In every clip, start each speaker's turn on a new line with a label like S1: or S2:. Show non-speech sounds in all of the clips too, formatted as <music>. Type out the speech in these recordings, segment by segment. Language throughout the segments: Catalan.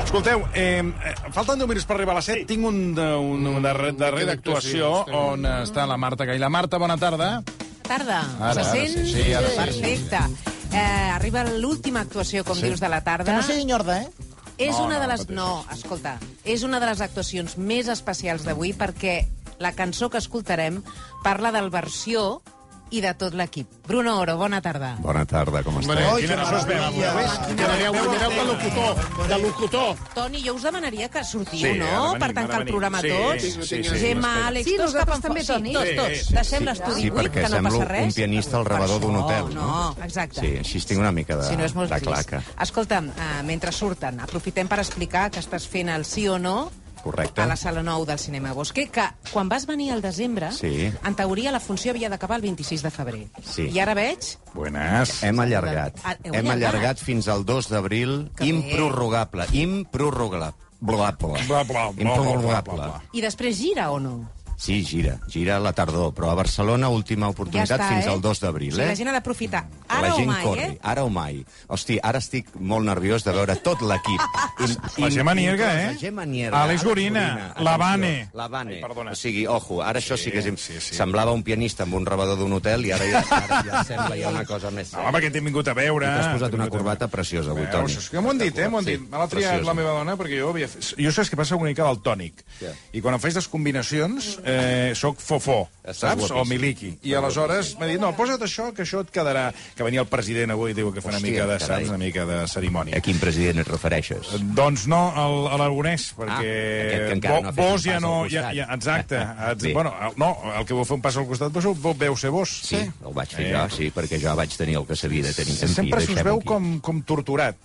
S1: Escolteu, eh, eh, falten 10 minuts per arribar a les 7. Sí. Tinc un, de- un, un darrer, darrera actuació
S2: actuació, sí.
S1: on està la Marta Gaila. Marta, bona tarda.
S3: Tarda.
S1: Ara,
S3: se
S1: ara
S3: sent?
S1: sí, sí, ara sí.
S3: Perfecte. Eh, arriba l'última actuació, com
S1: Sí.
S3: dius, de la tarda.
S4: No sé d'enyorda, eh?
S3: És
S1: No,
S3: una
S1: no,
S3: de les...
S1: pateixis.
S3: No, escolta, és una de les actuacions més especials d'avui perquè la cançó que escoltarem parla del versió i de tot l'equip. Bruno Oro, bona tarda.
S5: Bona tarda, com esteu?
S2: Hombre,
S4: Ai,
S2: quina
S4: que
S2: cançó estem avui.
S4: meravella.
S2: Ves, Que aneu, aneu de locutor, de locutor.
S3: Toni, jo us demanaria que sortiu,
S1: Sí,
S3: no?
S1: ara venim,
S3: per tancar
S1: ara
S3: el programa
S1: venim.
S3: tots.
S1: Sí, sí, sí,
S3: Gemma,
S1: sí,
S3: Àlex,
S6: Sí,
S3: tots
S6: nosaltres
S3: cap en...
S6: també,
S3: sí,
S6: Toni.
S3: Tots,
S1: Sí,
S3: tots.
S1: sí,
S3: Deixem l'estudi
S5: Sí,
S3: buit,
S5: perquè
S3: que no
S5: semblo
S3: passa res.
S5: un pianista al rebador d'un hotel,
S3: no? No, exacte.
S5: Sí, així tinc una mica de,
S3: si no és molt
S5: eh, de
S3: trist.
S5: claca.
S3: Escolta'm, uh, mentre surten, aprofitem per explicar que estàs fent el sí o no
S5: Correcte.
S3: a la sala 9 del Cinema Bosque, que quan vas venir al desembre,
S5: Sí.
S3: en teoria la funció havia d'acabar el 26 de febrer.
S5: Sí.
S3: I ara veig...
S1: Buenas.
S5: Hem allargat.
S3: Ah, heu
S5: Hem
S3: allargat?
S5: allargat fins al 2 d'abril.
S3: Que bé.
S5: Improrrogable. Improrrogable.
S1: Bla, bla, bla, bla, bla,
S5: Improrrogable.
S1: bla.
S3: I després gira o no?
S5: Sí, gira. Gira a la tardor, però a Barcelona última oportunitat fins al 2
S3: O
S5: d'abril.
S3: sigui,
S5: Eh?
S3: la gent ha d'aprofitar. Ara
S5: la gent
S3: o mai,
S5: corri,
S3: eh?
S5: ara o mai. Hosti, ara estic molt nerviós de veure tot l'equip.
S3: <laughs>
S5: I-
S1: La
S5: i-
S1: Gemma Nierga,
S5: inclosa
S1: eh?
S5: Gemma Nierga.
S1: Àlex
S5: Àlex
S1: Gorina,
S5: Gorina,
S1: L'Havane.
S5: atenció, L'Havane.
S1: Ai, perdona.
S5: o sigui, ojo, ara això sí, que és...
S1: sí, sí.
S5: Semblava un pianista amb un rebador d'un hotel i ara ja, ara
S1: <laughs>
S5: ja sembla ja una cosa més...
S1: Home, perquè t'he vingut a veure.
S5: T'has posat una
S1: T'he vingut a
S5: corbata preciosa avui,
S1: Veus?
S5: Toni.
S1: És que m'ho han dit, eh? M'ho han dit.
S5: Sí,
S1: Me l'ha triat
S5: preciosa.
S1: la meva dona perquè jo havia... fet- Jo saps que passa una mica del tònic.
S5: Ja.
S1: I quan em faig les combinacions, eh, sóc fofó,
S5: Estàs
S1: saps?
S5: guapíssim.
S1: O miliqui. I aleshores m'ha dit, no, posa't això, que això et quedarà... Que venia el president avui i diu que fa una
S5: Hòstia,
S1: mica de,
S5: carai.
S1: saps, una mica de cerimònia.
S5: A quin president et refereixes?
S1: Doncs no, el- a l'Aragonès, perquè
S5: Ah, aquest que encara no ha fet
S1: vos
S5: un
S1: ja
S5: pas
S1: no...
S5: al
S1: Ja,
S5: costat.
S1: ja, exacte.
S5: <laughs>
S1: Ex
S5: Bé.
S1: bueno, el- no, el que vau fer un pas al costat vos, vos veu ser vos.
S5: Sí, el vaig fer jo, sí, perquè jo vaig tenir el que s'havia de tenir. En fi,
S1: Eh. Sempre se'ls
S5: deixem-ho
S1: veu
S5: aquí.
S1: com, com torturat.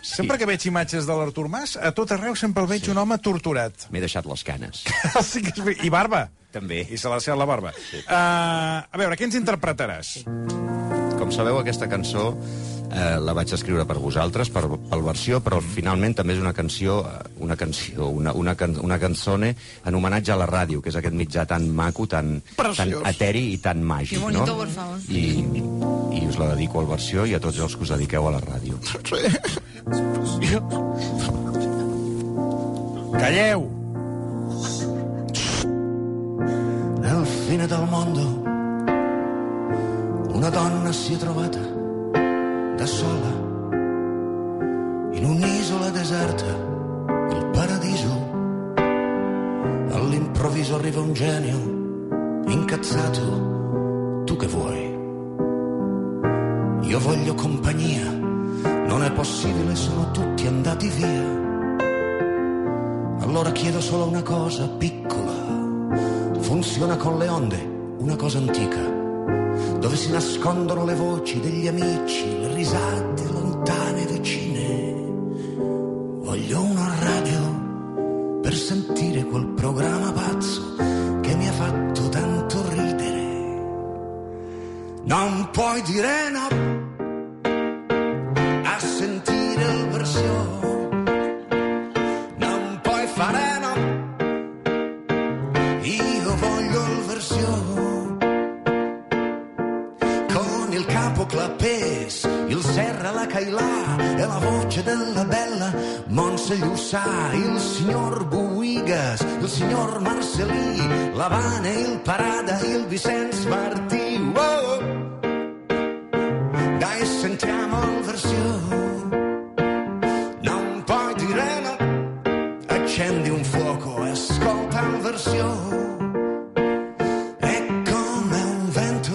S1: Sempre que veig imatges de l'Artur Mas, a tot arreu sempre el veig un home
S7: <laughs>
S1: torturat.
S5: M'he deixat les
S1: <laughs>
S5: canes.
S1: Sí que és ver- I barba.
S5: També.
S1: I se l'ha deixat la barba. Sí. Uh, a veure, què ens interpretaràs?
S5: Com sabeu, aquesta cançó eh, la vaig escriure per vosaltres, per, pel versió, però
S7: Mm.
S5: finalment també és una canció, eh, una canció, una, una, can, una canzone en homenatge a la ràdio, que és aquest mitjà tan maco, tan, tan eteri i tan màgic.
S6: Que bonito,
S5: no?
S6: por favor.
S5: I, I us la dedico al versió i a tots els que us dediqueu a la ràdio.
S1: Calleu!
S5: Al fine del mondo una donna si è trovata da sola in un'isola deserta, il paradiso. All'improvviso arriva un genio incazzato, tu che vuoi? Io voglio compagnia, non è possibile, sono tutti andati via. Allora chiedo solo una cosa piccola, funziona con le onde, una cosa antica, dove si nascondono le voci degli amici, le risate lontane e vicine. Voglio una radio per sentire quel programma pazzo che mi ha fatto tanto ridere. Non puoi dire no a sentire il versio. Non puoi fare no io voglio il versio con il capo clapés, il serra la cailà e la voce della bella Monse Llussà, il signor Buigas, il signor Marcelì, l'Avane, il Parada, il Vicenç Martí. Wow! Dai, sentiamo il versio. Non puoi dire no. Accendi un fuoco e ascolta un versio. È come un vento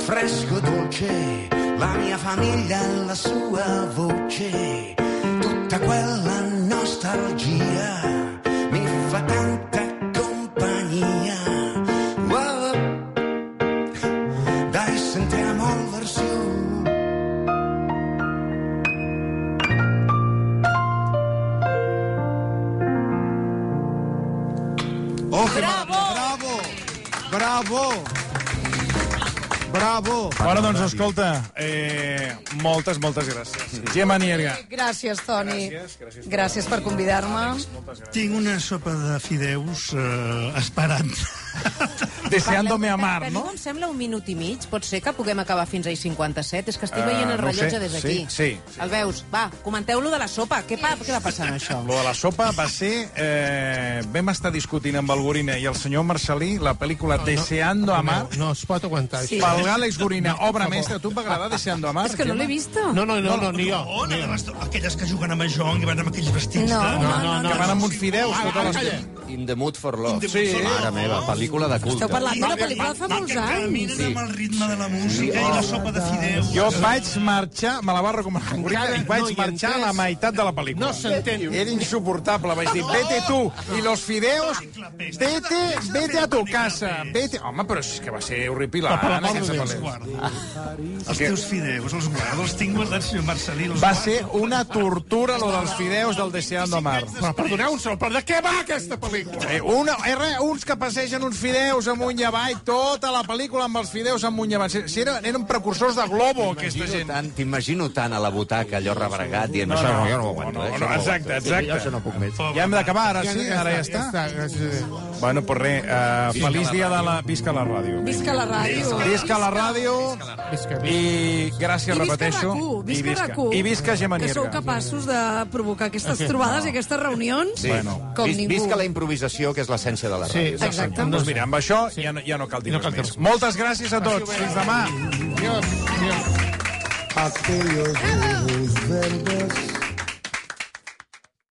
S5: fresco e dolce, la mia famiglia e la sua voce. Tutta quella nostalgia mi fa tanta compagnia. Wow. Dai, sentiamo il versio.
S4: Oh, que bravo! Bravo! Bravo!
S1: Bravo! Bueno, doncs, escolta, eh, moltes, moltes gràcies. Gemma Nierga.
S4: Gràcies, Toni.
S1: Gràcies, gràcies.
S4: Gràcies per convidar-me.
S6: Tinc una sopa de fideus eh, esperant.
S1: Deseándome
S3: Parlem-
S1: amar,
S3: Tenim,
S1: no?
S3: em sembla, un minut i mig. Pot ser que puguem acabar fins ahir 57? És que estic
S1: Eh,
S3: veient el
S1: no ho sé.
S3: rellotge des
S1: Sí,
S3: d'aquí.
S1: sí, sí.
S3: El veus? Va, comenteu-lo de la sopa. Què, pa, què va passar amb això?
S1: Lo de la sopa va ser... Eh, vam estar discutint amb el Gorina i el senyor Marcelí la pel·lícula Deseando amar.
S2: No, es pot aguantar.
S4: Sí.
S2: això.
S1: Pel Gàlex Gorina, obra mestra. A tu et va agradar Deseando amar?
S3: És que no l'he vist.
S2: No, no, no, no, ni jo.
S6: On anaves tu? Aquelles que juguen a Mahjong i van amb aquells vestits
S4: No,
S6: de...
S4: no,
S2: no, no.
S1: Que van amb uns fideus tota l'estona.
S7: In the Mood for Love.
S1: Sí.
S7: Mare meva, pel·lícula de culte.
S4: Esteu parlant d'una pel·lícula de fa
S6: Van
S4: molts
S6: que
S4: anys.
S6: caminen amb el ritme de la música i la sopa de fideus.
S1: Jo vaig marxar, me la va recomanar en Gorina, i vaig marxar a la meitat de la pel·lícula.
S2: No s'entén.
S1: Era insuportable, vaig dir, vete tu i los fideos, vete, vete a tu casa, vete... Home, però és que va ser horripilant.
S2: Per la mort de
S1: aquesta
S2: Déu,
S1: pel·lícula.
S6: Guarda. Els teus fideus, els guardo, els tinc guardats, senyor Marcelí. els
S1: Va
S6: guardo.
S1: ser una tortura, lo dels fideus del Deseando Mar.
S2: Però perdoneu un segon, però de què va aquesta pel·lícula?
S1: Eh, una, eh, re, uns que passegen uns fideus amunt i avall, tota la pel·lícula amb els fideus amunt i avall. Si- Si eren, eren precursors de Globo, aquesta gent.
S7: Tant, T'imagino tant a la butaca, allò rebregat, dient, no, no, no, jo no ho aguanto. eh,
S1: No,
S7: això
S1: no,
S7: ho aguanto".
S1: exacte, exacte.
S2: no puc més.
S1: Ja hem d'acabar, ara sí, ara ja està. Bueno, pues res, uh, feliç dia de la... Visca la ràdio.
S4: Visca la ràdio.
S1: Visca la ràdio
S2: Visca, visca.
S1: i gràcies,
S4: I visca
S1: repeteixo.
S4: RAC1,
S1: I
S4: visca
S1: visca,
S4: RAC1,
S1: I visca Gemma
S4: que sou
S1: Nierga.
S4: capaços de
S1: <laughs>
S4: provocar aquestes trobades i aquestes reunions
S7: Sí.
S1: Bueno.
S4: com
S7: Vis-
S4: ningú.
S7: Visca la improvisació, que és l'essència de la
S2: Sí,
S7: ràdio.
S4: Exacte.
S1: Doncs mira, amb això ja no, ja no cal dir
S2: No
S1: res
S2: cal dir
S1: més.
S2: res.
S1: Moltes gràcies a tots. Fins demà.
S2: Adiós, adiós.
S8: aquellos viejos verdes